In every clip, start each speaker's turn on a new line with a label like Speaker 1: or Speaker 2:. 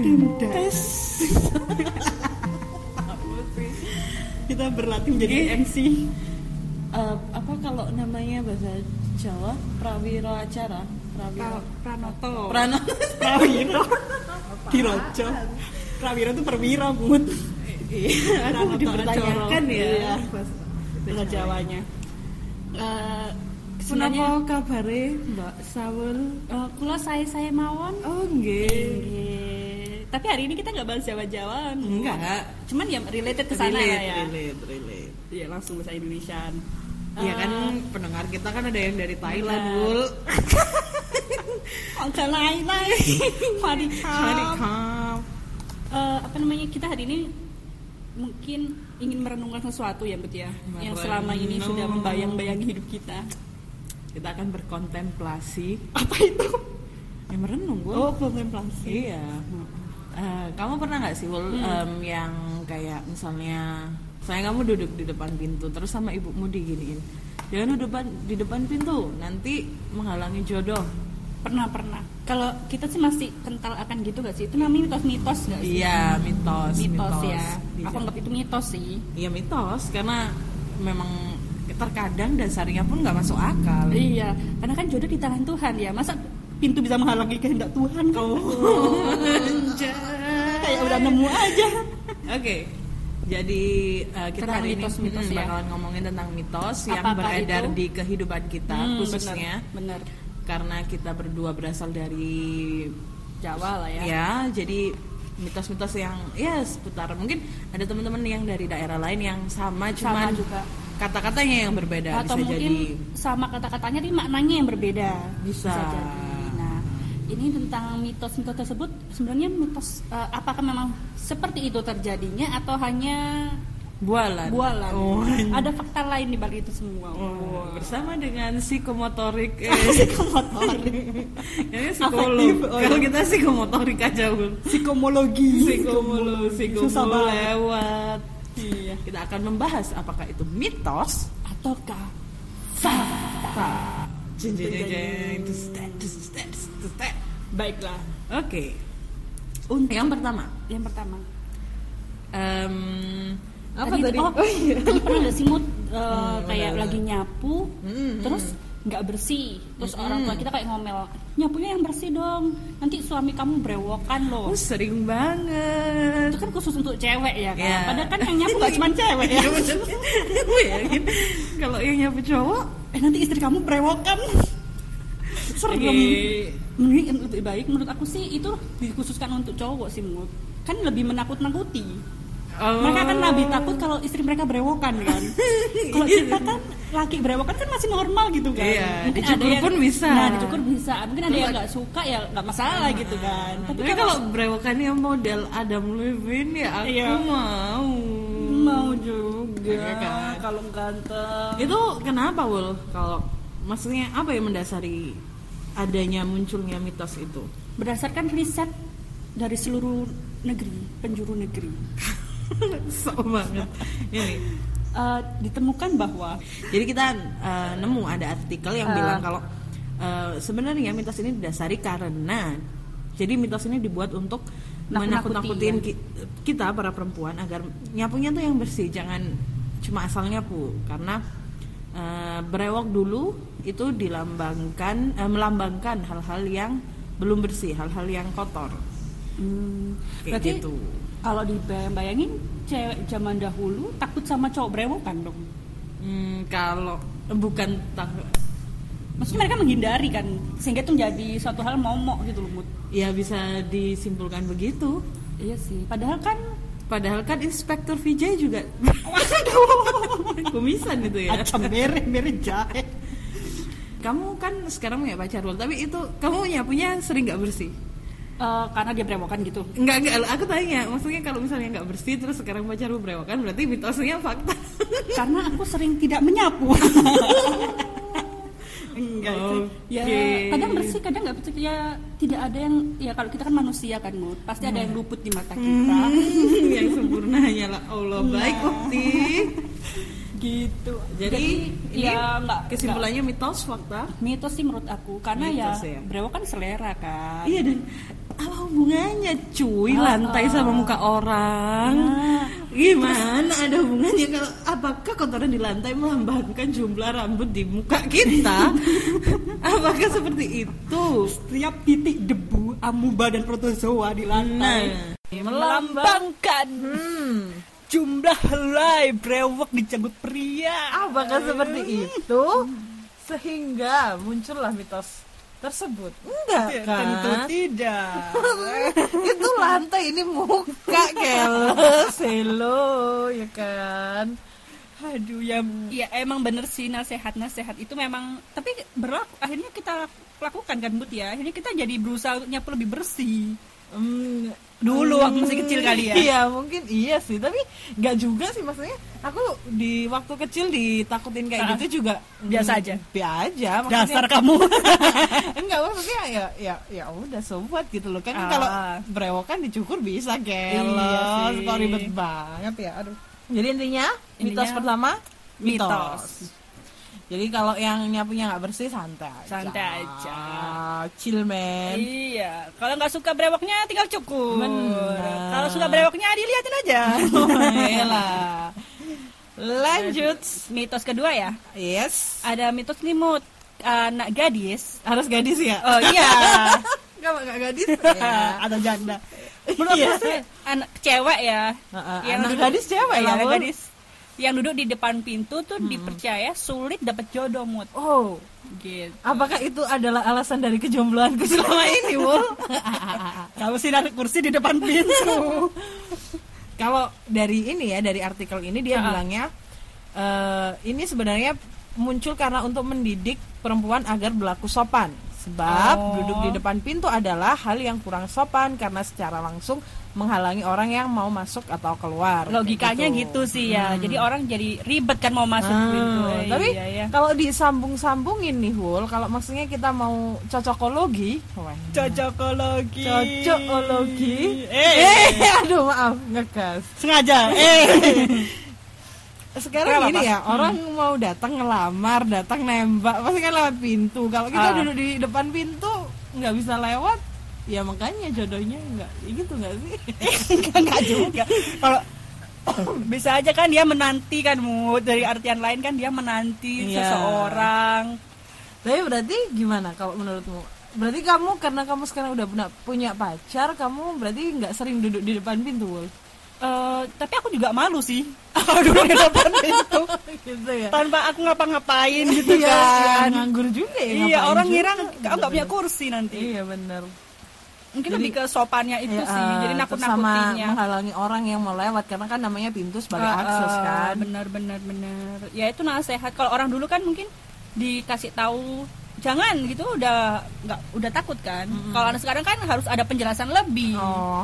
Speaker 1: Tindas.
Speaker 2: kita berlatih menjadi MC
Speaker 1: eh,
Speaker 2: Eh, apa kalau namanya bahasa Jawa prawira acara prawira
Speaker 1: Pra- Pranoto.
Speaker 2: Prano Prawiro Dirojo Prawiro itu perwira bun
Speaker 1: Iya,
Speaker 2: Pranoto
Speaker 1: aku dipertanyakan
Speaker 2: Ajoro.
Speaker 1: ya.
Speaker 2: Iya.
Speaker 1: Bahasa-
Speaker 2: bahasa Jawanya Eh, sebenarnya
Speaker 1: Menapa kabare Mbak Saul?
Speaker 3: Eh, kula saya saya mawon.
Speaker 1: Oh nggih.
Speaker 3: Nggih. Tapi hari ini kita nggak bahas Jawa-Jawaan.
Speaker 2: enggak
Speaker 3: Cuman ya related ke sana lah
Speaker 2: relate,
Speaker 3: ya.
Speaker 2: relate, relate.
Speaker 3: Iya, langsung bahasa Indonesiaan.
Speaker 2: Iya kan
Speaker 3: Eh,
Speaker 2: pendengar kita kan ada yang dari Thailand,
Speaker 3: benar.
Speaker 2: Bul.
Speaker 3: angka lain lain.
Speaker 2: Hari
Speaker 3: Fadikam.
Speaker 2: kam.
Speaker 3: Eh, apa namanya kita hari ini mungkin ingin merenungkan sesuatu ya Bet ya yang selama ini
Speaker 2: Merenung.
Speaker 3: sudah membayang-bayangi hidup kita
Speaker 2: Kita akan berkontemplasi,
Speaker 3: apa itu
Speaker 2: yang merenung, Bul.
Speaker 1: Oh kontemplasi.
Speaker 2: Iya. Eh, kamu pernah nggak sih Wul,
Speaker 3: Hmm.
Speaker 2: em, yang kayak misalnya saya kamu duduk di depan pintu terus sama ibumu diginiin jangan duduk depan, di depan pintu nanti menghalangi jodoh
Speaker 3: pernah pernah kalau kita sih masih kental akan gitu gak sih itu namanya mitos-mitos gak sih
Speaker 2: iya mitos
Speaker 3: mitos, ya
Speaker 2: Iya.
Speaker 3: aku anggap itu mitos sih
Speaker 2: iya mitos karena memang terkadang dasarnya pun nggak masuk akal
Speaker 3: iya karena kan jodoh di tangan Tuhan ya masa pintu bisa menghalangi kehendak Tuhan kau kayak udah nemu aja
Speaker 2: Oke. Jadi eh, kita
Speaker 3: Tentang
Speaker 2: hari ini
Speaker 3: mitos-mitos
Speaker 2: hmm,
Speaker 3: ya.
Speaker 2: bakalan ngomongin tentang mitos yang
Speaker 3: Apakah
Speaker 2: beredar
Speaker 3: itu?
Speaker 2: di kehidupan kita
Speaker 3: Hmm,
Speaker 2: khususnya
Speaker 3: bener, bener.
Speaker 2: karena kita berdua berasal dari
Speaker 3: Jawa lah ya
Speaker 2: ya, jadi mitos-mitos yang ya seputar mungkin ada teman-teman yang dari daerah lain yang sama cuman
Speaker 3: Sama juga.
Speaker 2: kata-katanya yang berbeda bisa
Speaker 3: atau mungkin
Speaker 2: jadi
Speaker 3: sama kata-katanya tapi maknanya yang berbeda
Speaker 2: Bisa.
Speaker 3: jadi nah ini tentang mitos-mitos tersebut sebenarnya mitos eh, apakah memang seperti itu terjadinya atau hanya
Speaker 2: bualan.
Speaker 3: bualan
Speaker 2: Oh.
Speaker 3: ada fakta lain di balik itu semua
Speaker 2: Oh, bersama dengan psikomotorik eh, ini
Speaker 3: Oh, Afektif,
Speaker 2: psikolog
Speaker 3: oh.
Speaker 2: kalau kita psikomotorik aja Bun.
Speaker 1: Psikomologi.
Speaker 2: psikomolo
Speaker 1: Susah
Speaker 2: psikomolo
Speaker 1: banget.
Speaker 2: lewat
Speaker 3: iya
Speaker 2: kita akan membahas apakah itu mitos
Speaker 3: ataukah
Speaker 2: Jeng, jeng, jeng, jeng. Dus, tet, dus, tet, dus, dus, tet.
Speaker 3: baiklah
Speaker 2: oke Untuk yang pertama
Speaker 3: yang pertama
Speaker 2: em,
Speaker 1: Apa
Speaker 3: itu-
Speaker 1: tadi?
Speaker 3: oh,
Speaker 1: Oh, iya. Hmm,
Speaker 3: tadi pernah nggak sih mood eh, kayak
Speaker 2: benar-benar.
Speaker 3: lagi nyapu
Speaker 2: Mm,
Speaker 3: terus nggak bersih terus
Speaker 1: Hmm.
Speaker 2: Mm-mm.
Speaker 3: orang tua kita kayak ngomel nyapunya yang bersih dong nanti suami kamu brewokan loh
Speaker 2: oh sering banget
Speaker 3: itu kan khusus untuk cewek ya kan
Speaker 1: Iya.
Speaker 2: Ya.
Speaker 3: padahal kan yang nyapu gak cuma cewek ya
Speaker 1: gitu.
Speaker 2: Iya, bener. Gue yakin kalau yang nyapu cowok
Speaker 3: eh nanti istri kamu brewokan serem
Speaker 2: Oke.
Speaker 3: mending lebih baik menurut aku sih itu dikhususkan untuk cowok sih mood kan lebih menakut-nakuti
Speaker 2: oh,
Speaker 3: mereka kan lebih takut kalau istri mereka brewokan kan kalau kita kan laki brewokan kan masih normal gitu kan
Speaker 2: Iya, dicukur pun bisa.
Speaker 3: nah dicukur bisa mungkin ada
Speaker 2: Terus
Speaker 3: yang
Speaker 2: ada-
Speaker 3: nggak suka ya nggak masalah gitu kan
Speaker 2: tapi kalau brewokannya model Adam Levine ya aku
Speaker 3: Iya.
Speaker 2: mau
Speaker 3: mau juga
Speaker 2: Iya kan?
Speaker 3: kalau ganteng
Speaker 2: itu kenapa Wul kalau maksudnya apa yang mendasari adanya munculnya mitos itu
Speaker 3: berdasarkan riset dari seluruh negeri penjuru negeri
Speaker 2: so banget ini
Speaker 3: eh, ditemukan bahwa
Speaker 2: jadi kita eh, nemu ada artikel yang
Speaker 3: Eh.
Speaker 2: bilang kalau eh, sebenarnya mitos ini didasari karena jadi mitos ini dibuat untuk
Speaker 3: Nakut-nakuti,
Speaker 2: menakut-nakutin
Speaker 3: ya.
Speaker 2: ki- kita para perempuan agar nyapunya tuh yang bersih jangan cuma asal nyapu karena eh, berewok dulu itu dilambangkan eh, melambangkan hal-hal yang belum bersih hal-hal yang kotor
Speaker 3: hmm,
Speaker 2: kayak
Speaker 3: berarti
Speaker 2: gitu
Speaker 3: kalau dibayangin cewek zaman dahulu takut sama cowok brewokan dong
Speaker 2: Hmm, kalau bukan tak-
Speaker 3: maksudnya mereka menghindari kan sehingga itu menjadi suatu hal momok gitu loh Mut.
Speaker 2: ya bisa disimpulkan begitu
Speaker 3: iya sih padahal kan
Speaker 2: Padahal kan Inspektur Vijay juga kumisan itu ya.
Speaker 3: acam mere mere jahe
Speaker 2: Kamu kan sekarang punya pacar Wal, tapi itu kamu nyapunya sering nggak bersih?
Speaker 3: Eh, karena dia brewokan gitu
Speaker 2: Enggak, enggak. Aku tanya, maksudnya kalau misalnya nggak bersih terus sekarang pacar lu berewokan berarti mitosnya fakta.
Speaker 3: karena aku sering tidak menyapu
Speaker 2: Enggak.
Speaker 3: ya kadang bersih kadang nggak bersih ya tidak ada yang ya kalau kita kan manusia kan Mut pasti ada yang luput di mata kita
Speaker 2: Hmm, yang sempurna hanyalah Allah. Baik, Ukti.
Speaker 3: gitu
Speaker 2: Jadi, ini
Speaker 3: ya nggak nggak.
Speaker 2: kesimpulannya mitos fakta.
Speaker 3: mitos sih menurut aku karena
Speaker 2: Mitos
Speaker 3: ya,
Speaker 2: ya.
Speaker 3: brewokan selera kan
Speaker 2: Iya dan
Speaker 4: apa hubungannya cuy
Speaker 5: Ah,
Speaker 3: Oh,
Speaker 4: lantai
Speaker 3: oh.
Speaker 4: sama muka orang
Speaker 3: Nah,
Speaker 4: gimana ada hubungannya kalau apakah kotoran di lantai melambangkan jumlah rambut di muka kita apakah seperti itu
Speaker 5: Setiap titik debu amuba dan protozoa di
Speaker 4: nah
Speaker 5: lantai melambangkan
Speaker 4: Hmm,
Speaker 5: jumlah helai brewok di janggut pria.
Speaker 2: Apakah seperti itu? Sehingga muncullah mitos tersebut.
Speaker 4: enggak
Speaker 1: Iya,
Speaker 5: Tentu
Speaker 4: kan
Speaker 5: tidak.
Speaker 4: itu lantai ini muka keles
Speaker 2: Selo, ya kan?
Speaker 5: Aduh ya
Speaker 3: Iya emang bener sih nasehat-nasehat itu memang tapi berlaku akhirnya kita lakukan kan Bud ya akhirnya kita jadi berusaha untuk nyapu lebih bersih
Speaker 1: mm,
Speaker 2: Hmm,
Speaker 3: dulu waktu masih kecil kali ya
Speaker 2: Iya mungkin iya sih tapi nggak juga sih maksudnya aku di waktu kecil ditakutin kayak
Speaker 3: Ah,
Speaker 2: gitu juga
Speaker 3: biasa aja.
Speaker 2: biasa aja maksudnya
Speaker 5: dasar kamu.
Speaker 2: enggak maksudnya ya ya ya udah sobat gitu loh kan
Speaker 3: Ah.
Speaker 2: kalau berewokan dicukur bisa keles
Speaker 3: Iya sih.
Speaker 2: kok ribet banget ya aduh jadi intinya, mitos
Speaker 3: Intinya,
Speaker 2: pertama
Speaker 3: mitos.
Speaker 2: jadi kalau yang nyapunya nggak bersih santai aja.
Speaker 3: Santai aja.
Speaker 2: chill man
Speaker 3: Iya, kalau nggak suka brewoknya tinggal cukur.
Speaker 2: Benar. Iya.
Speaker 3: Kalau suka brewoknya dilihatin aja.
Speaker 2: Elah. lanjut
Speaker 3: mitos kedua ya,
Speaker 2: yes
Speaker 3: ada mitos limut anak gadis.
Speaker 2: harus gadis ya
Speaker 3: Oh iya,
Speaker 2: kalau nggak gadis
Speaker 1: Iya.
Speaker 5: Atau janda.
Speaker 3: menurut aku sih anak cewek ya.
Speaker 2: Iya. Heeh,
Speaker 3: Yang
Speaker 2: anak
Speaker 3: duduk-
Speaker 2: gadis cewek
Speaker 3: Iya,
Speaker 2: ya,
Speaker 3: anak
Speaker 2: Bun?
Speaker 3: gadis yang duduk di depan pintu tuh dipercaya sulit dapat jodoh mut.
Speaker 2: oh
Speaker 3: Gitu.
Speaker 2: Apakah itu adalah alasan dari kejombloanku selama ini, Wul?
Speaker 5: Kamu sih narik kursi di depan pintu.
Speaker 2: Kalau dari ini ya, dari artikel ini dia
Speaker 3: Ha-ha.
Speaker 2: bilangnya eh, ini sebenarnya muncul karena untuk mendidik perempuan agar berlaku sopan. Sebab
Speaker 3: Oh.
Speaker 2: duduk di depan pintu adalah hal yang kurang sopan karena secara langsung menghalangi orang yang mau masuk atau keluar.
Speaker 3: Logikanya gitu. sih ya. Jadi orang jadi ribet kan mau masuk
Speaker 2: Mm. Ah,
Speaker 3: pintu.
Speaker 2: tapi
Speaker 3: Iya, iya.
Speaker 2: kalau disambung-sambungin nih, Wul, kalau maksudnya kita mau cocokologi, wah,
Speaker 5: Cocokologi.
Speaker 2: Cocokologi.
Speaker 5: Eh,
Speaker 2: Eh, aduh maaf ngegas.
Speaker 5: sengaja. Eh.
Speaker 2: Sekarang
Speaker 3: Kenapa,
Speaker 2: gini ya, orang mau datang ngelamar, datang nembak, pasti kan lewat pintu. Kalau kita
Speaker 3: Ah.
Speaker 2: duduk di depan pintu nggak bisa lewat, ya makanya jodohnya nggak gitu nggak sih?
Speaker 3: Enggak juga. Kalau bisa aja kan dia menanti kan mood dari artian lain kan dia menanti
Speaker 2: Iya.
Speaker 3: seseorang.
Speaker 2: Tapi berarti gimana kalau menurutmu? Berarti kamu karena kamu sekarang udah punya, punya pacar, kamu berarti nggak sering duduk di depan pintu, Wul?
Speaker 3: Eh, tapi aku juga malu sih. Duduk di depan pintu
Speaker 2: gitu ya.
Speaker 3: tanpa aku ngapa-ngapain gitu
Speaker 2: Iya,
Speaker 3: kan.
Speaker 2: nganggur juga ya.
Speaker 3: Iya,
Speaker 2: ngapain
Speaker 3: orang
Speaker 2: juga.
Speaker 3: ngira kamu nggak punya kursi nanti.
Speaker 2: Iya bener
Speaker 3: Mungkin lebih ke sopannya itu
Speaker 2: Iya,
Speaker 3: sih. Jadi
Speaker 2: eh, terus sama
Speaker 3: nakut-nakutinnya.
Speaker 2: menghalangi orang yang mau lewat karena kan namanya pintu sebagai
Speaker 3: Ah,
Speaker 2: akses
Speaker 3: ah,
Speaker 2: kan
Speaker 3: Benar benar benar. Ya itu nasehat. Kalau orang dulu kan mungkin dikasih tahu jangan gitu udah nggak udah takut kan. Kalau anak sekarang kan harus ada penjelasan lebih.
Speaker 2: oh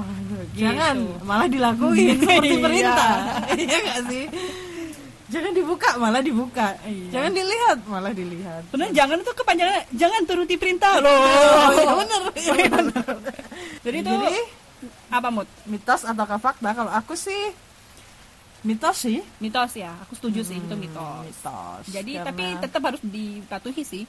Speaker 3: Gitu.
Speaker 2: jangan malah dilakuin seperti
Speaker 3: Iya.
Speaker 2: perintah iya nggak sih jangan dibuka malah dibuka
Speaker 3: Iya.
Speaker 2: jangan dilihat malah dilihat
Speaker 3: Benar jangan itu kepanjangan jangan turuti perintah loh.
Speaker 2: iya bener, iya bener.
Speaker 3: Oh, Jadi itu
Speaker 2: Jadi,
Speaker 3: apa mut?
Speaker 2: mitos atau fakta kalau aku sih mitos sih
Speaker 3: Mitos ya. Aku setuju sih itu mitos.
Speaker 2: mitos
Speaker 3: Jadi
Speaker 2: Karena-
Speaker 3: tapi tetap harus dipatuhi sih.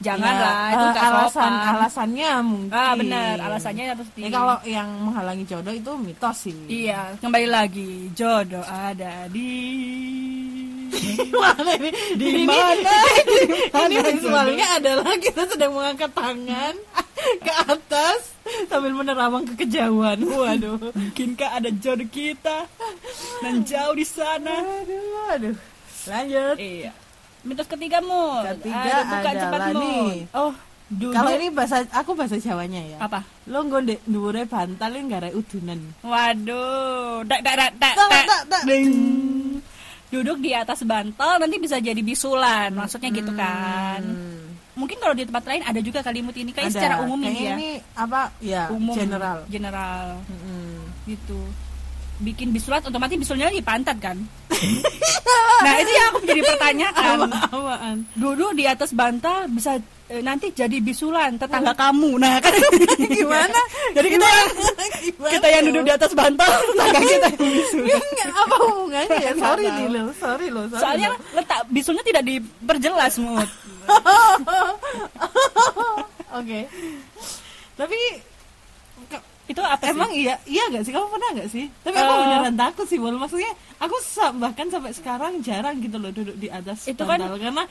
Speaker 3: Jangan
Speaker 2: Ya,
Speaker 3: lah itu
Speaker 2: eh,
Speaker 3: nggak
Speaker 2: alasan
Speaker 3: sopan.
Speaker 2: alasannya mungkin
Speaker 3: Ah benar alasannya harus di.
Speaker 2: Ya, kalau yang menghalangi jodoh itu mitos sih.
Speaker 3: Iya, kembali lagi. Jodoh ada di
Speaker 2: Mana ini? Di mana? Ini visualnya adalah kita sedang mengangkat tangan ke atas sambil menerawang ke kejauhan. Waduh.
Speaker 3: Mungkinkah ada jodoh kita dan jauh di sana?
Speaker 2: Aduh, aduh. Lanjut.
Speaker 3: Iya. Mitos ketiga mu.
Speaker 2: Ketiga adalah nih.
Speaker 3: Oh, duduk.
Speaker 2: Kalau ini bahasa aku bahasa Jawanya ya.
Speaker 3: apa?
Speaker 2: Lo ngondek dhuwure bantal yang gara udunan.
Speaker 3: Waduh, dak dak dak dak.
Speaker 2: Tak
Speaker 3: dak.
Speaker 2: tak tak.
Speaker 3: Duduk di atas bantal nanti bisa jadi bisulan, maksudnya
Speaker 2: Hmm.
Speaker 3: gitu kan. Mungkin kalau di tempat lain ada juga kalimut ini kayak
Speaker 2: Ada.
Speaker 3: secara umum ini
Speaker 2: Kayaknya
Speaker 3: ya.
Speaker 2: Ini apa? Ya,
Speaker 3: Umum
Speaker 2: general.
Speaker 3: General
Speaker 2: Mm-mm.
Speaker 3: gitu. Bikin bisulat otomatis bisulnya di pantat kan. nah, itu yang aku jadi pertanyaan.
Speaker 2: Apaan?
Speaker 3: duduk di atas bantal bisa eh, nanti jadi bisulan tetangga kamu nah kan gimana jadi kita kita yang duduk di atas bantal tetangga kita
Speaker 2: Enggak, apa hubungannya ya? Sorry nih lo, sorry lo, sorry.
Speaker 3: soalnya letak bisulnya tidak diperjelas mut
Speaker 2: Oke. Tapi ke-
Speaker 3: itu apa sih?
Speaker 2: Emang iya, iya gak sih? Kamu pernah gak sih? Tapi aku
Speaker 3: Eh.
Speaker 2: beneran takut sih, Bol. Maksudnya aku sa- bahkan sampai sekarang jarang gitu loh duduk di atas
Speaker 3: Itu kan-
Speaker 2: bantal karena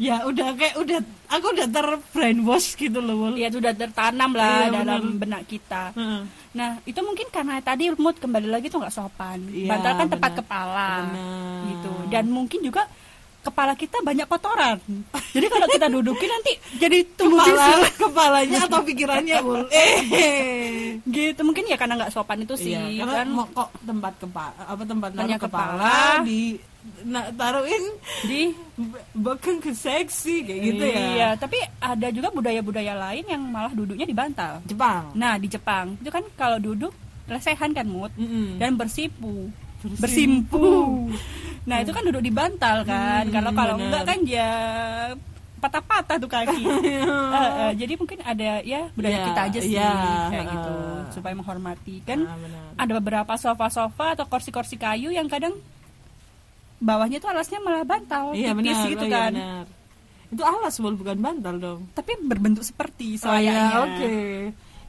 Speaker 2: ya udah kayak udah aku udah terbrainwash gitu loh, Bol.
Speaker 3: ya sudah tertanam lah
Speaker 2: Iya,
Speaker 3: dalam
Speaker 2: benar.
Speaker 3: benak kita.
Speaker 2: Heeh.
Speaker 3: Nah, itu mungkin karena tadi mood kembali lagi tuh nggak sopan.
Speaker 2: Iya,
Speaker 3: Bantal kan tempat
Speaker 2: benar.
Speaker 3: kepala.
Speaker 2: Benar.
Speaker 3: Gitu. Dan mungkin juga kepala kita banyak kotoran. Jadi kalau kita dudukin nanti jadi tumbuh
Speaker 2: Kepala,
Speaker 3: bisul.
Speaker 2: kepalanya atau pikirannya, Bol. Eh.
Speaker 3: Gitu. Mungkin ya karena nggak sopan itu sih.
Speaker 2: Iya, karena
Speaker 3: kan
Speaker 2: mau kok tempat kepala apa tempat taruh
Speaker 3: Hanya
Speaker 2: kepala,
Speaker 3: kepala.
Speaker 2: di nah, taruhin
Speaker 3: di
Speaker 2: be- beken ke seksi kayak gitu ya.
Speaker 3: Iya, tapi ada juga budaya-budaya lain yang malah duduknya di bantal.
Speaker 2: Jepang.
Speaker 3: Nah, di Jepang itu kan kalau duduk lesehan kan mood
Speaker 2: Mm-mm.
Speaker 3: dan bersipu.
Speaker 2: Bersimpu.
Speaker 3: Bersimpu. Nah, itu kan duduk di bantal kan.
Speaker 2: Hmm,
Speaker 3: kalau kalau
Speaker 2: benar.
Speaker 3: enggak kan ya patah-patah tuh kaki. Eh, eh, jadi mungkin ada ya budaya
Speaker 2: Iya,
Speaker 3: kita aja sih
Speaker 2: iya,
Speaker 3: kayak
Speaker 2: eh.
Speaker 3: gitu supaya menghormati kan.
Speaker 2: Ah, benar.
Speaker 3: ada beberapa sofa-sofa atau kursi-kursi kayu yang kadang bawahnya tuh alasnya malah bantal
Speaker 2: Iya
Speaker 3: tipis
Speaker 2: benar,
Speaker 3: gitu
Speaker 2: iya,
Speaker 3: kan.
Speaker 2: benar. Itu alas Bol, bukan bantal dong.
Speaker 3: tapi berbentuk
Speaker 2: Soalnya,
Speaker 3: seperti soalnya
Speaker 2: Oh, iya, oke.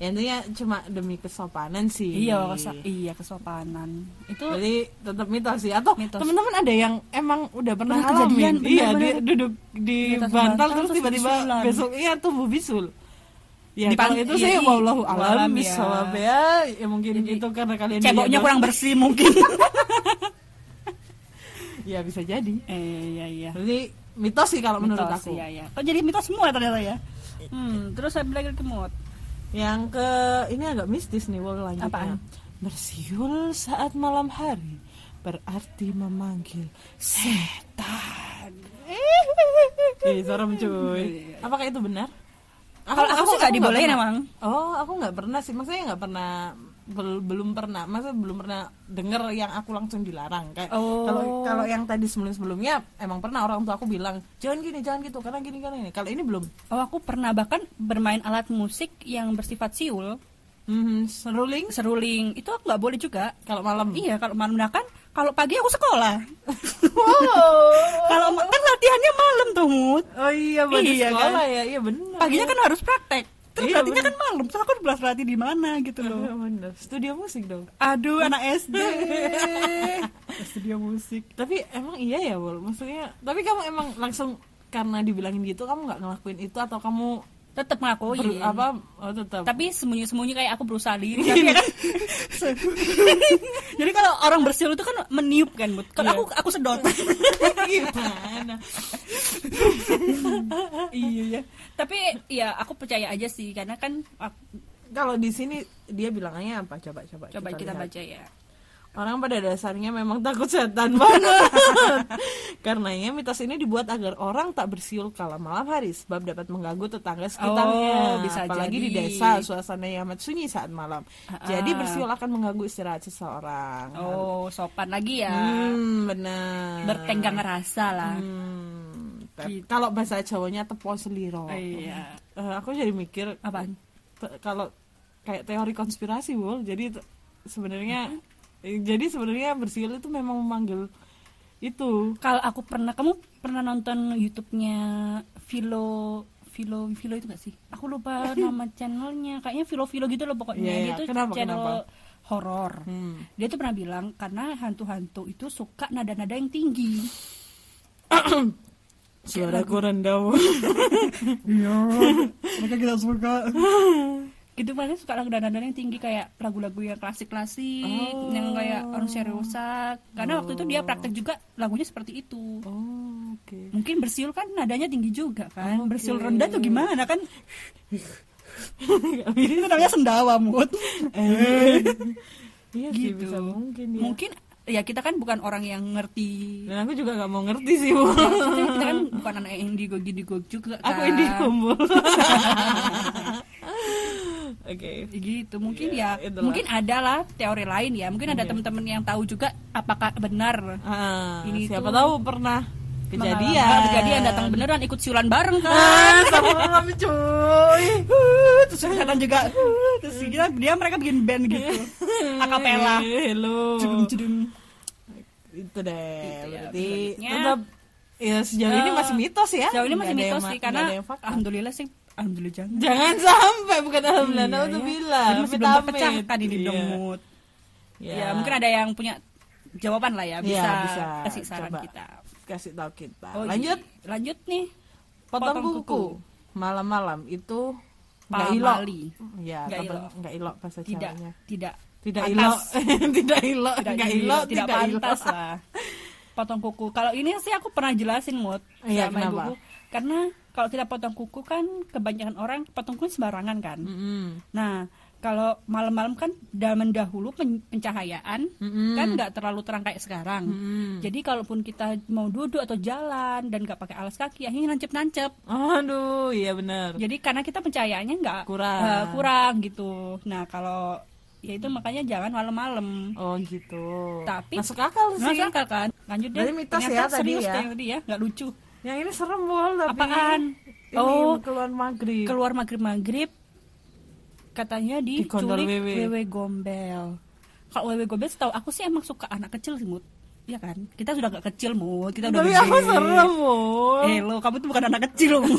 Speaker 2: Ya, intinya cuma demi kesopanan sih.
Speaker 3: iya kesa- iya kesopanan itu
Speaker 2: Jadi tetap mitos sih. Atau
Speaker 3: Mitos.
Speaker 2: teman-teman ada yang emang udah pernah
Speaker 3: Pernah kejadian,
Speaker 2: ngalamin. Iya,
Speaker 3: benar-benar.
Speaker 2: dia duduk di
Speaker 3: Di atas
Speaker 2: bantal,
Speaker 3: bantal,
Speaker 2: terus
Speaker 3: terus
Speaker 2: tiba-tiba
Speaker 3: bisulan.
Speaker 2: besok iya tumbuh bisul. Ya,
Speaker 3: Di
Speaker 2: kalau
Speaker 3: pan-
Speaker 2: itu
Speaker 3: iya,
Speaker 2: saya
Speaker 3: di-
Speaker 2: wallahu alam
Speaker 3: alam, ya.
Speaker 2: bisawab ya. ya mungkin itu karena kalian iya,
Speaker 3: ceboknya
Speaker 2: dianggap-
Speaker 3: kurang bersih mungkin
Speaker 2: Ya bisa jadi.
Speaker 3: eh iya iya
Speaker 2: Jadi mitos sih kalau menurut
Speaker 3: Mitos,
Speaker 2: aku.
Speaker 3: iya iya kok jadi mitos semua ternyata ya hmm, terus saya bilang ke mood
Speaker 2: Yang ke ini agak mistis nih wall
Speaker 3: Apaan?
Speaker 2: lanjutnya. Bersiul saat malam hari berarti memanggil setan. Ih, serem cuy. Apakah itu benar?
Speaker 3: Iya, Kalau aku sih nggak
Speaker 2: nggak
Speaker 3: dibolehin
Speaker 2: pernah.
Speaker 3: emang.
Speaker 2: Oh, aku nggak pernah sih. Maksudnya nggak pernah bel- belum pernah. Masa belum pernah denger yang aku langsung dilarang kayak
Speaker 3: Oh.
Speaker 2: kalau kalau yang tadi sebelum-sebelumnya emang pernah orang tua aku bilang jangan gini, jangan gitu karena gini karena ini. Kalau ini belum.
Speaker 3: oh aku pernah bahkan bermain alat musik yang bersifat siul
Speaker 2: Mhm, seruling Hmm.
Speaker 3: seruling itu aku nggak boleh juga
Speaker 2: kalau malam.
Speaker 3: iya kalau malam nah kan kalau pagi aku sekolah
Speaker 2: Wow.
Speaker 3: kalau ma- kan latihannya malam tuh mood
Speaker 2: Oh iya, berarti
Speaker 3: Iya, kan?
Speaker 2: sekolah ya. Iya benar.
Speaker 3: paginya kan harus praktek terus
Speaker 2: Iya,
Speaker 3: latihannya
Speaker 2: bener.
Speaker 3: kan malam terus aku belas latih di mana gitu loh
Speaker 2: Iya, benar. Studio musik dong.
Speaker 3: Aduh anak SD
Speaker 2: Studio musik. Tapi emang iya ya, Wol. Maksudnya, tapi kamu emang langsung karena dibilangin gitu kamu nggak ngelakuin itu atau kamu
Speaker 3: Tetap ngelakuin
Speaker 2: ber- apa oh, tetap
Speaker 3: iya. Tapi sembunyi-sembunyi kayak aku berusaha diri
Speaker 2: Iya.
Speaker 3: tapi ya kan- Jadi kalau orang bersiul itu kan meniup kan Bud.
Speaker 2: Iya.
Speaker 3: Kalau aku aku sedot
Speaker 2: gimana?
Speaker 3: Iya ya Tapi ya aku percaya aja sih Karena kan aku-
Speaker 2: Kalau di sini dia bilangnya apa? Coba coba.
Speaker 3: Coba kita,
Speaker 2: lihat.
Speaker 3: baca ya
Speaker 2: Orang pada dasarnya memang takut setan banget. Karenanya mitos ini dibuat agar orang tak bersiul kala malam hari sebab dapat mengganggu tetangga sekitarnya.
Speaker 3: Oh, bisa
Speaker 2: Apalagi di
Speaker 3: jadi.
Speaker 2: desa suasananya amat sunyi saat malam. Jadi bersiul akan mengganggu istirahat seseorang.
Speaker 3: Oh sopan lagi ya
Speaker 2: Hmm, benar.
Speaker 3: Bertenggang rasa lah
Speaker 2: Hmm, tep- Kalau bahasa Jawanya tepo seliro.
Speaker 3: Iya
Speaker 2: Eh, aku jadi mikir
Speaker 3: Apaan?
Speaker 2: te- kalau kayak teori konspirasi Wul jadi te- sebenarnya eh, jadi sebenarnya bersiul itu memang memanggil itu
Speaker 3: Kalau aku pernah Kamu pernah nonton YouTube-nya Vilo Vilo Vilo itu gak sih? Aku lupa nama channelnya. Kayaknya Vilo Vilo gitu loh pokoknya.
Speaker 2: Iya, iya.
Speaker 3: Dia tuh
Speaker 2: Kenapa,
Speaker 3: channel
Speaker 2: kenapa?
Speaker 3: horor.
Speaker 2: Hmm.
Speaker 3: Dia tuh pernah bilang karena hantu-hantu itu suka nada-nada yang tinggi.
Speaker 2: suaraku rendah
Speaker 3: Iya. mereka tidak suka. gitu mereka suka lagu nada-nada yang tinggi kayak lagu-lagu yang klasik-klasik, yang kayak
Speaker 2: Oh.
Speaker 3: orang seriosa. Karena waktu itu dia praktek juga lagunya seperti itu.
Speaker 2: oh oke
Speaker 3: Mungkin bersiul kan nadanya tinggi juga kan.
Speaker 2: Oke.
Speaker 3: Bersiul rendah tuh gimana kan? Ini tuh namanya sendawa mood.
Speaker 2: iya sih
Speaker 3: gitu.
Speaker 2: bisa mungkin ya
Speaker 3: Mungkin ya kita kan bukan orang yang ngerti
Speaker 2: dan aku juga nggak mau ngerti sih Wul
Speaker 3: Ya, maksudnya kita kan bukan anak indigo indigo juga kan.
Speaker 2: aku ini kumpul oke
Speaker 3: Gitu mungkin
Speaker 2: Ya,
Speaker 3: ya,
Speaker 2: itulah. Iya.
Speaker 3: mungkin ada lah teori lain ya. Mungkin ada teman-teman yang tahu juga apakah benar
Speaker 2: Ah,
Speaker 3: Ini
Speaker 2: siapa
Speaker 3: tuh
Speaker 2: tahu pernah
Speaker 3: Mengalami-
Speaker 2: kejadian
Speaker 3: Ah, kejadian datang beneran ikut siulan bareng kan.
Speaker 2: ah uh, sama kami cuy
Speaker 3: Huh, terus kelihatan juga
Speaker 2: Uh,
Speaker 3: huh, terus dia, dia mereka bikin band gitu. Akapela.
Speaker 2: Eh, hello
Speaker 3: Jedung-jedung.
Speaker 2: itu deh
Speaker 3: Gitu ya,
Speaker 2: berarti
Speaker 3: selanjutnya. Eh,
Speaker 2: tetap ya sejauh ini masih mitos ya
Speaker 3: Sejauh ini masih
Speaker 2: Nggak ada
Speaker 3: mitos
Speaker 2: yang ma-
Speaker 3: sih karena
Speaker 2: nggak ada yang fakta.
Speaker 3: alhamdulillah sih alhamdulillah jangan
Speaker 2: Jangan sampai bukan alhamdulillah,
Speaker 3: Iya,
Speaker 2: naudzubillah.
Speaker 3: Jadi masih belum
Speaker 2: Amit-amit.
Speaker 3: terpecahkan ini
Speaker 2: Iya.
Speaker 3: domut
Speaker 2: Iya.
Speaker 3: ya mungkin ada yang punya jawaban lah ya
Speaker 2: Iya,
Speaker 3: bisa,
Speaker 2: bisa.
Speaker 3: kasih saran
Speaker 2: Coba.
Speaker 3: kita
Speaker 2: kasih tahu kita.
Speaker 3: Oh,
Speaker 2: Lanjut,
Speaker 3: jadi- lanjut nih
Speaker 2: potong,
Speaker 3: potong
Speaker 2: kuku.
Speaker 3: kuku.
Speaker 2: Malam-malam itu nggak ilok.
Speaker 3: pamali
Speaker 2: Ya,
Speaker 3: Nggak
Speaker 2: nggak
Speaker 3: ilok.
Speaker 2: ilok, nggak ilok bahasa
Speaker 3: tidak
Speaker 2: Jawanya.
Speaker 3: tidak
Speaker 2: Tidak
Speaker 3: Pantas.
Speaker 2: ilok, tidak ilok,
Speaker 3: tidak
Speaker 2: nggak
Speaker 3: ini,
Speaker 2: ilok,
Speaker 3: tidak
Speaker 2: tidak ilok.
Speaker 3: pantas lah potong kuku kalau ini sih aku pernah jelasin mut
Speaker 2: Iya,
Speaker 3: sama
Speaker 2: kenapa?
Speaker 3: ibuku. karena kalau tidak potong kuku kan kebanyakan orang potong kuku sembarangan kan
Speaker 2: Mm-mm.
Speaker 3: nah kalau malam-malam kan dah mendahulu pen- pencahayaan
Speaker 2: Mm-mm.
Speaker 3: kan nggak terlalu terang kayak sekarang
Speaker 2: Mm-mm.
Speaker 3: jadi kalaupun kita mau duduk atau jalan dan nggak pakai alas kaki akhirnya nancep-nancep
Speaker 2: Aduh, iya benar.
Speaker 3: jadi karena kita pencahayaannya nggak
Speaker 2: Kurang. Hmm.
Speaker 3: eh, kurang gitu nah kalau ya itu makanya jangan malam-malam
Speaker 2: Oh gitu.
Speaker 3: Tapi-
Speaker 2: masuk akal sih.
Speaker 3: Masuk akal kan? Lanjut deh.
Speaker 2: Berarti mitos
Speaker 3: Ternyata
Speaker 2: ya tadi
Speaker 3: serius
Speaker 2: ya.
Speaker 3: kayak tadi ya, nggak lucu.
Speaker 2: Yang ini serem bol tapi. kan
Speaker 3: Apaan?
Speaker 2: Ini
Speaker 3: Oh.
Speaker 2: keluar maghrib.
Speaker 3: Keluar maghrib-maghrib katanya
Speaker 2: Digondol
Speaker 3: diculik
Speaker 2: wewe.
Speaker 3: wewe gombel. Kalau wewe gombel setahu aku sih emang suka anak kecil sih, Mut. Iya kan? Kita sudah gak kecil, Mut. Kita udah
Speaker 2: tapi
Speaker 3: gede.
Speaker 2: aku serem bol.
Speaker 3: Eh, lo, kamu tuh bukan anak kecil, Mut.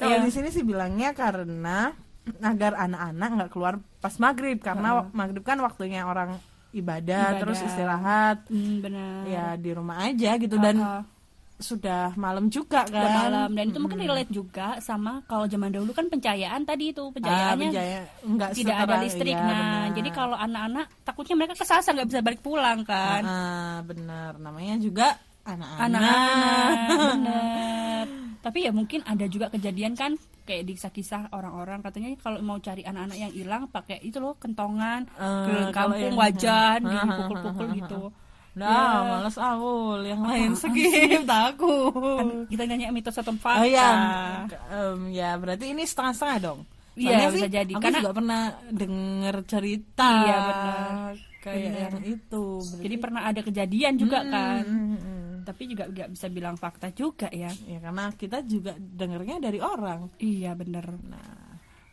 Speaker 2: Kalau
Speaker 3: Iya.
Speaker 2: di sini sih bilangnya karena agar anak-anak nggak keluar pas maghrib karena wak- maghrib kan waktunya orang ibadah,
Speaker 3: Ibadah.
Speaker 2: terus istirahat
Speaker 3: hmm, benar.
Speaker 2: ya di rumah aja gitu dan
Speaker 3: Ah, ah.
Speaker 2: sudah malam juga kan.
Speaker 3: Udah malam dan itu mungkin relate juga sama kalau zaman dahulu kan pencahayaan tadi itu
Speaker 2: Ah,
Speaker 3: pencahayaannya
Speaker 2: penjaya- nggak
Speaker 3: tidak ada
Speaker 2: seterang,
Speaker 3: listrik
Speaker 2: iya,
Speaker 3: nah
Speaker 2: benar.
Speaker 3: jadi kalau anak-anak takutnya mereka kesasar nggak bisa balik pulang kan
Speaker 2: Ah, benar. Namanya juga Ah,
Speaker 3: anak-anak
Speaker 2: anak-anak.
Speaker 3: bener tapi ya mungkin ada juga kejadian kan kayak di kisah-kisah orang-orang katanya kalau mau cari anak-anak yang hilang pakai itu loh kentongan
Speaker 2: Eh,
Speaker 3: ke
Speaker 2: kalau yang-
Speaker 3: kampung wajan
Speaker 2: Ah,
Speaker 3: dipukul-pukul gitu
Speaker 2: Nah,
Speaker 3: Ya.
Speaker 2: males awul yang lain skip takut.
Speaker 3: Kan kita nanya mitos atau
Speaker 2: Oh
Speaker 3: fakta
Speaker 2: iya, Em, ya berarti ini setengah-setengah dong.
Speaker 3: Iya,
Speaker 2: Soalnya
Speaker 3: bisa jadi.
Speaker 2: Aku
Speaker 3: Karena-
Speaker 2: juga pernah denger cerita.
Speaker 3: Iya, benar.
Speaker 2: Kayak
Speaker 3: Benar.
Speaker 2: yang itu.
Speaker 3: jadi pernah ada kejadian juga kan
Speaker 2: Mm-mm.
Speaker 3: tapi juga nggak bisa bilang fakta juga ya
Speaker 2: Ya karena kita juga dengernya dari orang. Nah,
Speaker 3: Iya bener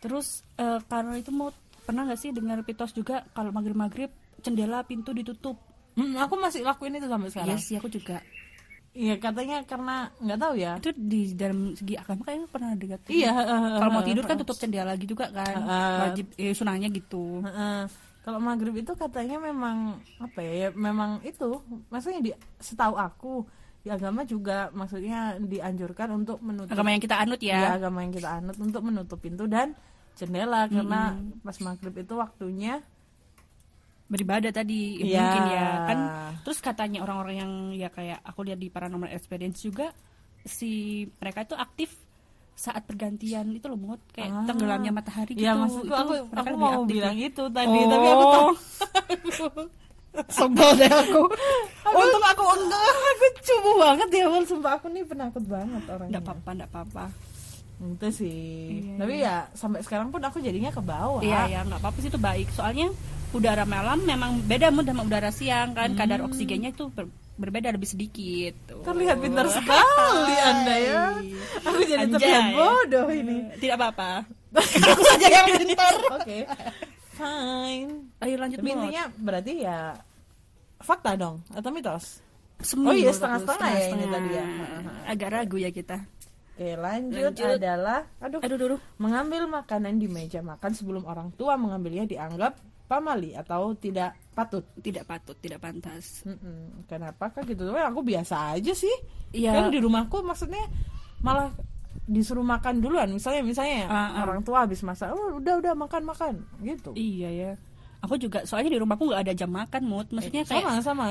Speaker 3: Terus eh, karena itu mau pernah nggak sih dengar pitos juga kalau maghrib-maghrib jendela pintu ditutup?
Speaker 2: Hmm, aku masih lakuin itu sampai
Speaker 3: Iya
Speaker 2: sekarang.
Speaker 3: sih aku juga.
Speaker 2: Iya katanya karena nggak tahu ya.
Speaker 3: Itu di dalam segi agama kayaknya pernah dengar.
Speaker 2: Iya.
Speaker 3: Kalau mau tidur kan tutup jendela lagi juga kan.
Speaker 2: Heeh.
Speaker 3: Wajib eh, sunahnya gitu.
Speaker 2: Heeh. Kalau maghrib itu katanya memang apa ya? ya memang itu, maksudnya di setahu aku di agama juga maksudnya dianjurkan untuk menutup
Speaker 3: Agama yang kita anut
Speaker 2: ya.
Speaker 3: ya.
Speaker 2: agama yang kita anut untuk menutup pintu dan jendela karena pas maghrib itu waktunya
Speaker 3: Beribadah tadi ya
Speaker 2: Iya.
Speaker 3: mungkin ya kan. Terus katanya orang-orang yang ya kayak aku lihat di paranormal experience juga si mereka itu aktif saat pergantian itu loh Mut. kayak
Speaker 2: Ah.
Speaker 3: tenggelamnya matahari gitu.
Speaker 2: ya maksudku
Speaker 3: Itu
Speaker 2: aku
Speaker 3: mereka
Speaker 2: aku
Speaker 3: lebih
Speaker 2: mau
Speaker 3: aktif. ya. Oh.
Speaker 2: bilang itu tadi tapi aku tahu
Speaker 3: Sebel deh aku.
Speaker 2: untung aku enggak aku cupu banget ya Wal. sumpah aku nih penakut banget orangnya
Speaker 3: Enggak apa-apa, enggak apa-apa.
Speaker 2: itu sih tapi ya sampai sekarang pun aku jadinya ke bawah
Speaker 3: Iya, ya, enggak apa-apa sih itu baik. Soalnya udara malam memang beda mood sama udara siang kan. Kadar
Speaker 2: Hmm.
Speaker 3: oksigennya itu ber- berbeda lebih sedikit. Tuh.
Speaker 2: terlihat pintar sekali anda ya aku jadi terlihat
Speaker 3: Anjay. Eh,
Speaker 2: bodoh ini
Speaker 3: Tidak apa-apa.
Speaker 2: aku saja yang pintar oke fine
Speaker 3: Ayo lanjut
Speaker 2: tapi
Speaker 3: Mut.
Speaker 2: intinya berarti ya fakta dong atau mitos
Speaker 3: Semi
Speaker 2: Oh iya,
Speaker 3: menurut aku,
Speaker 2: setengah-setengah ya ini tadi ya.
Speaker 3: setengah-setengah. Agak ragu ya kita.
Speaker 2: Oke, lanjut,
Speaker 3: Lanjut.
Speaker 2: adalah aduh,
Speaker 3: Aduh, dulu.
Speaker 2: mengambil makanan di meja makan sebelum orang tua mengambilnya dianggap pamali atau tidak patut.
Speaker 3: Tidak patut, tidak pantas.
Speaker 2: Mm-mm. Kenapa kah gitu? Wah, aku biasa aja sih.
Speaker 3: Iya.
Speaker 2: Kan di rumahku maksudnya malah disuruh makan duluan. Misalnya misalnya
Speaker 3: Ah, ah.
Speaker 2: orang tua habis masak, "Oh, udah udah makan makan." gitu.
Speaker 3: Iya ya. Aku juga soalnya di rumahku nggak ada jam makan mood. Maksudnya kayak
Speaker 2: Eh, sama sama.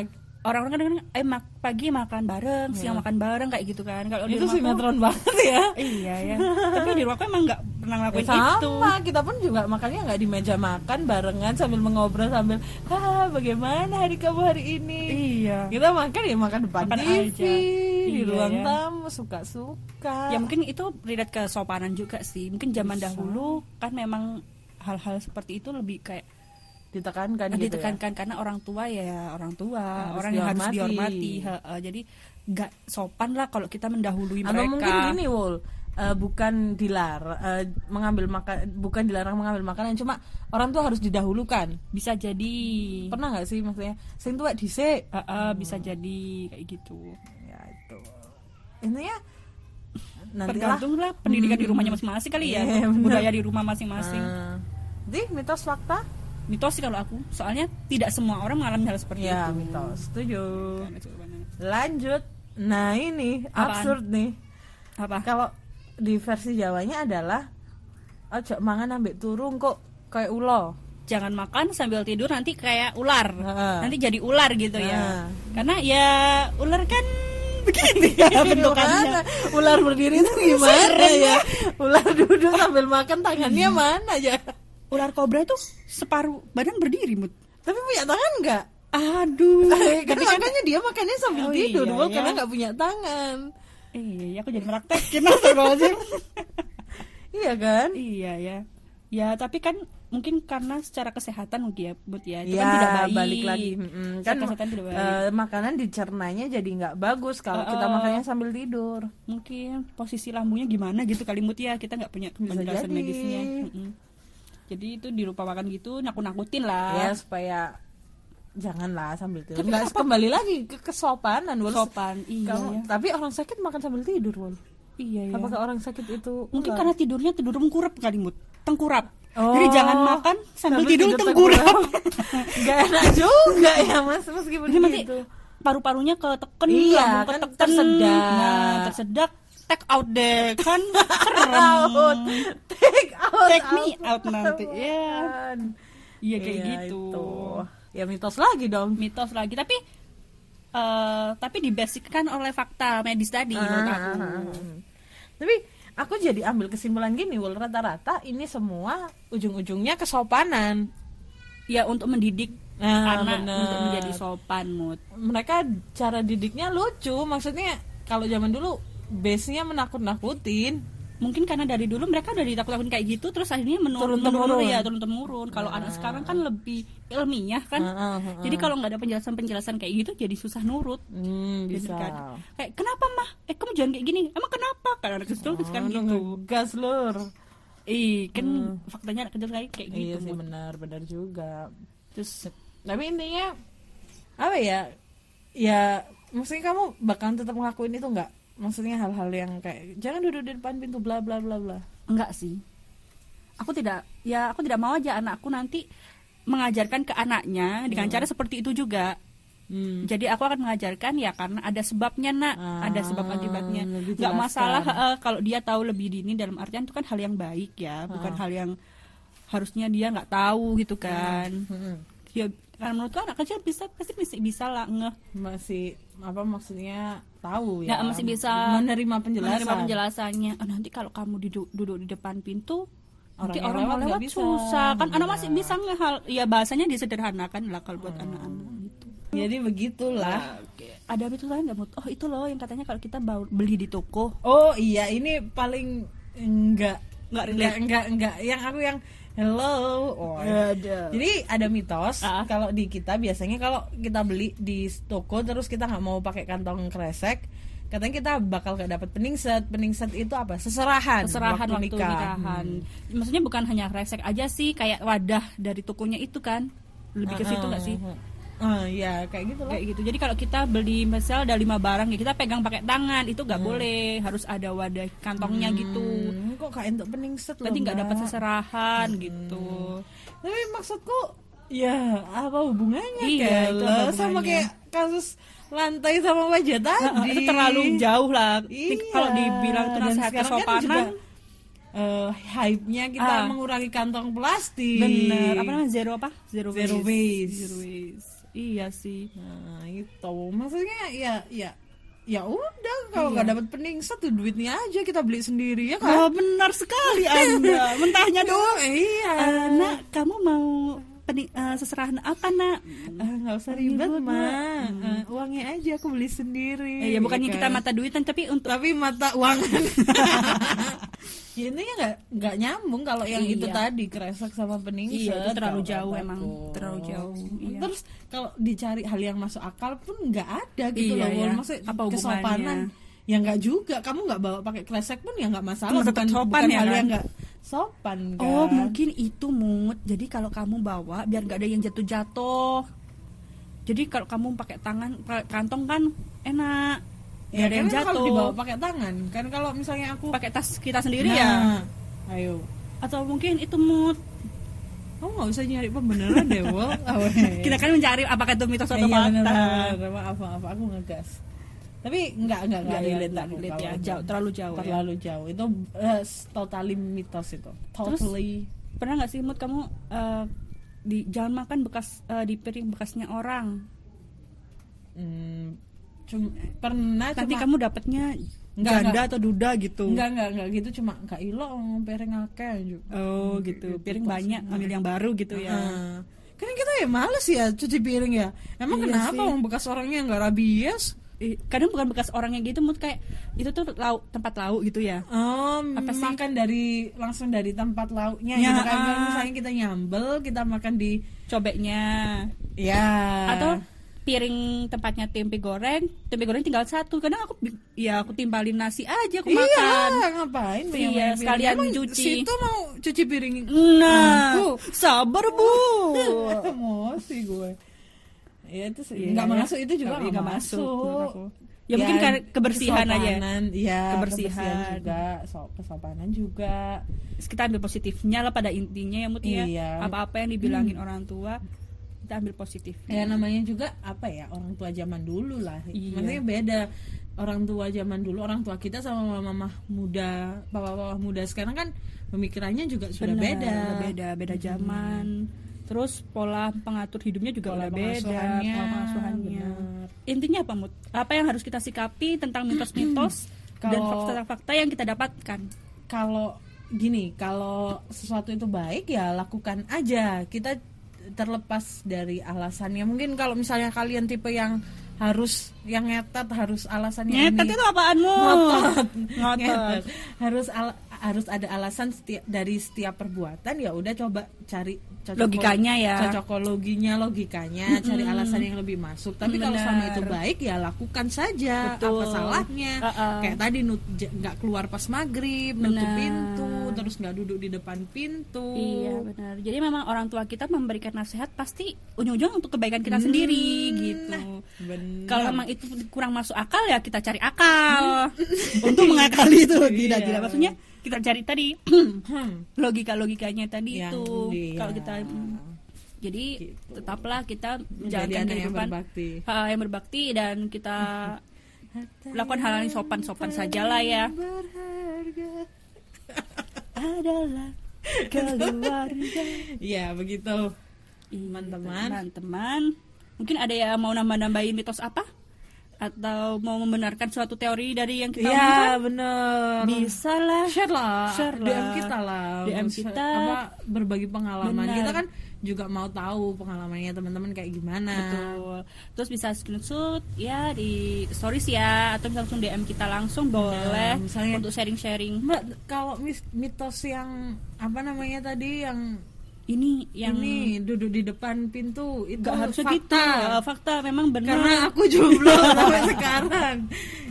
Speaker 3: orang-orang kadang eh mak- pagi makan bareng, siang makan bareng kayak gitu kan. Kalau
Speaker 2: Iya.
Speaker 3: di
Speaker 2: Itu
Speaker 3: rumahku-
Speaker 2: sinetron banget ya.
Speaker 3: Iya ya. Tapi di rumahku emang nggak pernah
Speaker 2: Ya,
Speaker 3: ngelakuin
Speaker 2: sama
Speaker 3: itu.
Speaker 2: kita pun juga makannya nggak di meja makan barengan sambil mengobrol sambil ah bagaimana hari kamu hari ini
Speaker 3: Iya.
Speaker 2: kita makan ya makan depan
Speaker 3: Makan
Speaker 2: TV
Speaker 3: aja.
Speaker 2: di
Speaker 3: Iya,
Speaker 2: ruang
Speaker 3: ya.
Speaker 2: tamu suka suka
Speaker 3: Ya mungkin itu relate ke sopanan juga sih. Mungkin zaman dahulu kan memang hal-hal seperti itu lebih kayak
Speaker 2: ditekankan gitu
Speaker 3: ditekankan karena orang tua ya orang tua
Speaker 2: Harus
Speaker 3: orang yang harus
Speaker 2: dihormati.
Speaker 3: dihormati Heeh, jadi nggak sopan lah kalau kita mendahului
Speaker 2: ya. atau
Speaker 3: mereka
Speaker 2: mungkin gini Wol eh, bukan dilarang mengambil makan bukan dilarang mengambil makanan cuma orang tua harus didahulukan
Speaker 3: bisa jadi
Speaker 2: pernah nggak sih maksudnya sing tua dhisik."
Speaker 3: Heeh, bisa jadi kayak gitu
Speaker 2: ya itu intinya nanti lah.
Speaker 3: tergantung lah pendidikan di rumahnya masing-masing kali ya,
Speaker 2: Iya, benar.
Speaker 3: budaya di rumah masing-masing.
Speaker 2: Ah. Jadi mitos fakta?
Speaker 3: Mitos sih kalau aku, soalnya tidak semua orang mengalami hal seperti
Speaker 2: Ya,
Speaker 3: itu.
Speaker 2: mitos. Setuju.
Speaker 3: Karena itu banyak.
Speaker 2: Lanjut. Nah, ini
Speaker 3: Apaan?
Speaker 2: absurd nih.
Speaker 3: Apa?
Speaker 2: Kalau di versi Jawanya adalah ojo mangan ambek turung kok kayak ulo.
Speaker 3: Jangan makan sambil tidur nanti kayak ular,
Speaker 2: Heeh. Nah.
Speaker 3: nanti jadi ular gitu
Speaker 2: Heeh.
Speaker 3: ya. Karena ya ular kan begini
Speaker 2: Gimana?
Speaker 3: bentukannya.
Speaker 2: Ya, Ular berdiri itu gimana ya? Ular duduk sambil makan tangannya mana ya?
Speaker 3: Ular kobra itu separuh badan berdiri, Mut.
Speaker 2: Tapi punya tangan nggak?
Speaker 3: Aduh.
Speaker 2: kan makanya dia makannya sambil
Speaker 3: Oh,
Speaker 2: tidur
Speaker 3: iya
Speaker 2: Wal,
Speaker 3: ya.
Speaker 2: karena nggak punya tangan.
Speaker 3: Iya, aku jadi meraktekin astagfirullahaladzim.
Speaker 2: Iya kan?
Speaker 3: Iya ya. Ya, tapi kan mungkin karena secara kesehatan mungkin ya, Bud ya. Itu
Speaker 2: Ya,
Speaker 3: kan tidak baik.
Speaker 2: balik lagi. Mm-mm.
Speaker 3: Secara
Speaker 2: Kan
Speaker 3: kesehatan tidak baik.
Speaker 2: eh, makanan dicernanya jadi nggak bagus kalau kita
Speaker 3: Uh-uh.
Speaker 2: makannya sambil tidur.
Speaker 3: mungkin posisi lambungnya gimana gitu kali Mut ya. Kita nggak punya
Speaker 2: Bisa
Speaker 3: penjelasan
Speaker 2: jadi.
Speaker 3: medisnya. Mm-mm. Jadi itu dilupakan gitu, nakut-nakutin lah.
Speaker 2: Ya supaya janganlah sambil tidur. Nggak kembali lagi ke kesopanan, Wal.
Speaker 3: kan Sopan. Iya
Speaker 2: Kamu-
Speaker 3: ya.
Speaker 2: Tapi orang sakit makan sambil tidur, Wal.
Speaker 3: Iya ya.
Speaker 2: Apakah orang sakit itu?
Speaker 3: Mungkin
Speaker 2: ular?
Speaker 3: karena tidurnya tidur mengkurap kali Mut. Tengkurap.
Speaker 2: Oh.
Speaker 3: Jadi jangan makan sambil,
Speaker 2: Sambil
Speaker 3: tidur,
Speaker 2: tidur
Speaker 3: tengkurap.
Speaker 2: nggak enak juga ya Mas meskipun
Speaker 3: Jadi nanti
Speaker 2: gitu.
Speaker 3: paru-parunya keteken,
Speaker 2: Iya,
Speaker 3: lambung
Speaker 2: kan
Speaker 3: keteken.
Speaker 2: tersedak.
Speaker 3: Nah, tersedak take out deh kan serem.
Speaker 2: Out. Take out.
Speaker 3: Take me out nanti. Ya.
Speaker 2: Apaan?
Speaker 3: Iya kayak
Speaker 2: Iya,
Speaker 3: gitu.
Speaker 2: itu. Ya mitos lagi dong.
Speaker 3: Mitos lagi tapi eh tapi dibasiskan oleh fakta medis tadi menurut aku.
Speaker 2: Ah, Tapi aku jadi ambil kesimpulan gini, Wul rata-rata ini semua ujung-ujungnya kesopanan.
Speaker 3: Ya untuk mendidik
Speaker 2: Nah,
Speaker 3: anak
Speaker 2: bener.
Speaker 3: untuk menjadi sopan mood.
Speaker 2: Mereka cara didiknya lucu, maksudnya kalau zaman dulu base-nya menakut-nakutin.
Speaker 3: Mungkin karena dari dulu mereka udah ditakut-takutin kayak gitu terus akhirnya menurun
Speaker 2: Turun-temurun.
Speaker 3: menurun ya turun temurun. Kalau anak sekarang kan lebih ilmiah kan.
Speaker 2: Heeh, heeh.
Speaker 3: Jadi kalau nggak ada penjelasan-penjelasan kayak gitu jadi susah nurut.
Speaker 2: Hmm,
Speaker 3: Gitu
Speaker 2: bisa.
Speaker 3: kan. Kayak kenapa mah? Eh kamu jangan kayak gini. Emang kenapa? Karena anak kecil tuh
Speaker 2: Oh,
Speaker 3: kan gitu.
Speaker 2: Gas lur.
Speaker 3: Ih, kan faktanya anak kecil sekali kayak
Speaker 2: Hmm. iya
Speaker 3: gitu.
Speaker 2: sih
Speaker 3: Mut.
Speaker 2: benar, benar juga.
Speaker 3: Terus
Speaker 2: Tapi intinya apa ya? Ya maksudnya kamu bakalan tetap ngelakuin itu nggak? Maksudnya hal-hal yang kayak jangan duduk di depan pintu bla bla bla bla.
Speaker 3: enggak sih. Aku tidak ya aku tidak mau aja anakku nanti mengajarkan ke anaknya dengan cara seperti itu juga.
Speaker 2: Hmm.
Speaker 3: Jadi aku akan mengajarkan ya karena ada sebabnya nak,
Speaker 2: Ah,
Speaker 3: ada sebab akibatnya.
Speaker 2: lebih
Speaker 3: Nggak
Speaker 2: jelaskan.
Speaker 3: masalah eh, kalau dia tahu lebih dini dalam artian itu kan hal yang baik ya, bukan
Speaker 2: Ah.
Speaker 3: hal yang harusnya dia nggak tahu gitu kan.
Speaker 2: Mm-mm.
Speaker 3: Ya karena menurutku anak kecil bisa pasti bisa, bisa lah ngeh
Speaker 2: masih apa maksudnya tahu ya
Speaker 3: Nah, masih bisa
Speaker 2: menerima penjelasan
Speaker 3: menerima penjelasannya. Oh, nanti kalau kamu didu- duduk di depan pintu nanti
Speaker 2: yang
Speaker 3: orang
Speaker 2: lewat
Speaker 3: mau
Speaker 2: nggak
Speaker 3: lewat
Speaker 2: bisa.
Speaker 3: susah kan anak masih bisa ngehal ya bahasanya disederhanakan lah kalau buat anak-anak gitu
Speaker 2: jadi begitulah
Speaker 3: ada itu lain nggak Mut? oh itu loh yang katanya kalau kita bau- beli di toko
Speaker 2: oh iya ini paling enggak
Speaker 3: Nggak relate.
Speaker 2: enggak enggak enggak yang aku yang hello oh. jadi ada mitos
Speaker 3: Ah.
Speaker 2: kalau di kita biasanya kalau kita beli di toko terus kita nggak mau pakai kantong kresek katanya kita bakal gak dapat peningset peningset itu apa seserahan
Speaker 3: keserahan Kan, waktu, nikahan maksudnya bukan hanya resek aja sih kayak wadah dari tokonya itu kan lebih ke situ nggak sih
Speaker 2: Hmm. Ah, ya kayak gitu lah
Speaker 3: kayak gitu jadi kalau kita beli misal ada lima barang ya kita pegang pakai tangan itu nggak boleh harus ada wadah kantongnya gitu
Speaker 2: Hmm, kok kayak untuk peningset loh,
Speaker 3: nanti nggak dapat
Speaker 2: Mbak? Hmm.
Speaker 3: seserahan gitu
Speaker 2: Tapi maksudku ya apa hubungannya
Speaker 3: Iya, itu
Speaker 2: Kayla?
Speaker 3: apa
Speaker 2: sama
Speaker 3: hubungannya?
Speaker 2: kayak kasus lantai sama wajah tadi.
Speaker 3: Nah, itu terlalu jauh lah
Speaker 2: Iya.
Speaker 3: kalau dibilang itu
Speaker 2: Dan
Speaker 3: nasihat
Speaker 2: sekarang kan
Speaker 3: kesopanan
Speaker 2: juga, eh, hype-nya kita
Speaker 3: Ah.
Speaker 2: mengurangi kantong plastik.
Speaker 3: bener apa namanya zero apa zero,
Speaker 2: Zero waste.
Speaker 3: Zero waste. iya sih
Speaker 2: Nah, itu maksudnya ya ya ya udah kalau
Speaker 3: Iya.
Speaker 2: nggak dapat peningset tuh duitnya aja kita beli sendiri ya kan.
Speaker 3: Wah, benar sekali anda mentahnya doang
Speaker 2: iya.
Speaker 3: Eh, nak kamu mau peni- eh, seserahan apa nak
Speaker 2: Eh, nggak usah ribet,
Speaker 3: Ribet,
Speaker 2: Ma.
Speaker 3: Ma.
Speaker 2: Eh, uangnya aja aku beli sendiri.
Speaker 3: Eh, ya bukannya
Speaker 2: Iya
Speaker 3: kita
Speaker 2: kan?
Speaker 3: mata duitan tapi untuk
Speaker 2: tapi mata uang ya intinya nggak nggak nyambung kalau yang itu
Speaker 3: Iya.
Speaker 2: tadi kresek sama peningset
Speaker 3: Iya, itu terlalu
Speaker 2: kalau
Speaker 3: jauh
Speaker 2: kataku.
Speaker 3: emang, terlalu jauh, iya.
Speaker 2: terus kalau dicari hal yang masuk akal pun nggak ada gitu
Speaker 3: Iya,
Speaker 2: loh Wal.
Speaker 3: iya.
Speaker 2: maksudnya
Speaker 3: Apa
Speaker 2: kesopanan ya nggak juga kamu nggak bawa pakai kresek pun ya nggak masalah
Speaker 3: Itu tetap
Speaker 2: bukan,
Speaker 3: sopan
Speaker 2: bukan
Speaker 3: ya
Speaker 2: hal
Speaker 3: kan?
Speaker 2: yang nggak sopan kan
Speaker 3: Oh mungkin itu mood. Jadi kalau kamu bawa biar nggak ada yang jatuh-jatuh. Jadi kalau kamu pakai tangan pakai kantong kan enak. Nggak ada yang
Speaker 2: Ya, karena
Speaker 3: jatuh
Speaker 2: kalau dibawa pakai tangan kan kalau misalnya aku
Speaker 3: pakai tas kita sendiri
Speaker 2: Nah,
Speaker 3: ya
Speaker 2: ayo
Speaker 3: atau mungkin itu mood
Speaker 2: kamu nggak usah nyari pembenaran deh Wol
Speaker 3: kita kan mencari apakah itu mitos atau
Speaker 2: Iya, bener,
Speaker 3: fakta
Speaker 2: bener. maaf maaf aku ngegas tapi nggak nggak
Speaker 3: nggak
Speaker 2: ada-
Speaker 3: relate nggak
Speaker 2: nggak
Speaker 3: relate ya
Speaker 2: kalau
Speaker 3: jauh terlalu jauh ya.
Speaker 2: terlalu jauh itu eh, totally mitos itu totally
Speaker 3: pernah nggak sih mood kamu eh, di jangan makan bekas eh, di piring bekasnya orang
Speaker 2: hmm, cum- pernah
Speaker 3: nanti
Speaker 2: cuma-
Speaker 3: kamu dapatnya
Speaker 2: Nggak,
Speaker 3: janda
Speaker 2: nggak.
Speaker 3: atau duda gitu
Speaker 2: Enggak, enggak, enggak gitu cuma enggak ilo piring akeh juga.
Speaker 3: oh gitu piring banyak ngambil yang baru gitu ya
Speaker 2: Heeh. Iya. Kan kita ya males ya cuci piring ya. Emang
Speaker 3: Iya
Speaker 2: kenapa
Speaker 3: sih.
Speaker 2: orang bekas orangnya enggak rabies?
Speaker 3: Ih, kadang bukan bekas orangnya gitu mood kayak itu tuh lau, tempat lauk gitu ya
Speaker 2: Em,
Speaker 3: Apa sih?
Speaker 2: makan dari langsung dari tempat lauknya
Speaker 3: Ya,
Speaker 2: gitu kan. Kalau
Speaker 3: ah.
Speaker 2: misalnya kita nyambel, kita makan di
Speaker 3: cobeknya
Speaker 2: ya
Speaker 3: atau piring tempatnya tempe goreng tempe goreng tinggal satu kadang aku bi- ya aku timbalin nasi aja aku
Speaker 2: iya,
Speaker 3: makan
Speaker 2: ngapain
Speaker 3: Iya,
Speaker 2: banyak-banyak piring?
Speaker 3: sekalian
Speaker 2: Emang
Speaker 3: cuci.
Speaker 2: Situ mau cuci piring
Speaker 3: nah sabar bu
Speaker 2: emosi gue. Ya itu sih.
Speaker 3: Iya,
Speaker 2: Enggak
Speaker 3: iya.
Speaker 2: masuk itu juga
Speaker 3: Nggak-
Speaker 2: enggak
Speaker 3: nggak masuk, menurut aku.
Speaker 2: masuk.
Speaker 3: ya, mungkin karena kebersihan aja
Speaker 2: kesopanan, iya
Speaker 3: Kebersihan.
Speaker 2: kebersihan, juga so- kesopanan juga
Speaker 3: Terus kita ambil positifnya lah pada intinya ya Mut ya
Speaker 2: Iya. Hmm.
Speaker 3: apa-apa yang dibilangin orang tua kita ambil positif
Speaker 2: ya namanya juga apa ya orang tua zaman dulu lah
Speaker 3: Iya.
Speaker 2: maksudnya beda orang tua zaman dulu orang tua kita sama mama muda papa-papa muda sekarang kan pemikirannya juga Iya, sudah
Speaker 3: Benar,
Speaker 2: beda Hmm.
Speaker 3: udah beda beda zaman terus pola pengatur hidupnya juga
Speaker 2: Pola
Speaker 3: udah beda
Speaker 2: pengasuhannya,
Speaker 3: pola pengasuhannya
Speaker 2: benar.
Speaker 3: intinya apa Mut? apa yang harus kita sikapi tentang mitos-mitos dan
Speaker 2: Kalau-
Speaker 3: fakta-fakta yang kita dapatkan
Speaker 2: kalau gini kalau sesuatu itu baik ya lakukan aja kita terlepas dari alasannya mungkin kalau misalnya kalian tipe yang harus yang ngetat harus alasannya
Speaker 3: nyetet
Speaker 2: ini.
Speaker 3: itu apaan Mut? Iya, ngotot
Speaker 2: Ngetet. harus al- harus ada alasan setiap dari setiap perbuatan ya udah coba cari cocokolo-
Speaker 3: Logikanya ya.
Speaker 2: cocokologinya logikanya cari alasan yang lebih masuk tapi kalau
Speaker 3: Benar.
Speaker 2: sama itu baik ya lakukan saja
Speaker 3: Betul.
Speaker 2: apa salahnya
Speaker 3: Uh-uh.
Speaker 2: kayak tadi nut- j- nggak keluar pas maghrib nutup
Speaker 3: Benar.
Speaker 2: pintu terus nggak duduk di depan pintu
Speaker 3: Iya benar. Jadi memang orang tua kita memberikan nasihat pasti ujung-ujung untuk kebaikan kita sendiri gitu.
Speaker 2: benar.
Speaker 3: Kalau memang itu kurang masuk akal ya kita cari akal untuk Hmm. mengakali itu. Tidak
Speaker 2: Iya.
Speaker 3: tidak maksudnya kita cari tadi
Speaker 2: Hmm.
Speaker 3: logika-logikanya tadi
Speaker 2: Yang
Speaker 3: itu.
Speaker 2: iya.
Speaker 3: gitu, Kalau kita mm, jadi
Speaker 2: Gitu.
Speaker 3: tetaplah kita
Speaker 2: menjadi
Speaker 3: menjalankan
Speaker 2: anak yang
Speaker 3: kehidupan
Speaker 2: berbakti
Speaker 3: ah, yang berbakti dan kita lakukan hal-hal yang sopan-sopan sajalah ya.
Speaker 2: berharga
Speaker 3: Adalah keluarga.
Speaker 2: Iya begitu Teman-teman.
Speaker 3: Iya, teman-teman teman mungkin ada yang mau nambah-nambahin mitos apa atau mau membenarkan suatu teori dari yang kita
Speaker 2: Iya
Speaker 3: omongkan?
Speaker 2: bener
Speaker 3: bisa lah
Speaker 2: share lah,
Speaker 3: Share lah.
Speaker 2: DM kita lah,
Speaker 3: DM
Speaker 2: Share-
Speaker 3: kita.
Speaker 2: apa berbagi pengalaman.
Speaker 3: Benar.
Speaker 2: Kita kan juga mau tahu pengalamannya teman-teman kayak gimana.
Speaker 3: betul terus bisa screenshot ya di stories ya atau bisa langsung DM kita langsung boleh
Speaker 2: Iya, misalnya-
Speaker 3: untuk sharing-sharing
Speaker 2: Mbak, kalau mis- mitos yang apa namanya tadi yang,
Speaker 3: ini yang
Speaker 2: ini duduk di depan pintu itu
Speaker 3: Hmm. nggak harusnya
Speaker 2: fakta.
Speaker 3: gitu Eh, fakta memang benar
Speaker 2: Karena aku jomblo sampai sekarang.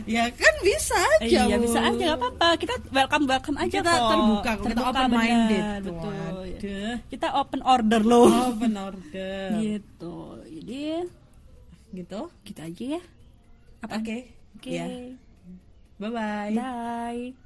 Speaker 2: Ya kan bisa
Speaker 3: Eh,
Speaker 2: aja.
Speaker 3: iya
Speaker 2: Bu.
Speaker 3: bisa aja nggak apa-apa kita welcome welcome aja
Speaker 2: Kita
Speaker 3: kok.
Speaker 2: terbuka, kita open
Speaker 3: benar,
Speaker 2: minded.
Speaker 3: betul iya.
Speaker 2: Waduh.
Speaker 3: kita open order loh
Speaker 2: Open order.
Speaker 3: gitu jadi
Speaker 2: Gitu.
Speaker 3: gitu aja ya
Speaker 2: Oke.
Speaker 3: oke
Speaker 2: Ya. Bye bye.
Speaker 3: bye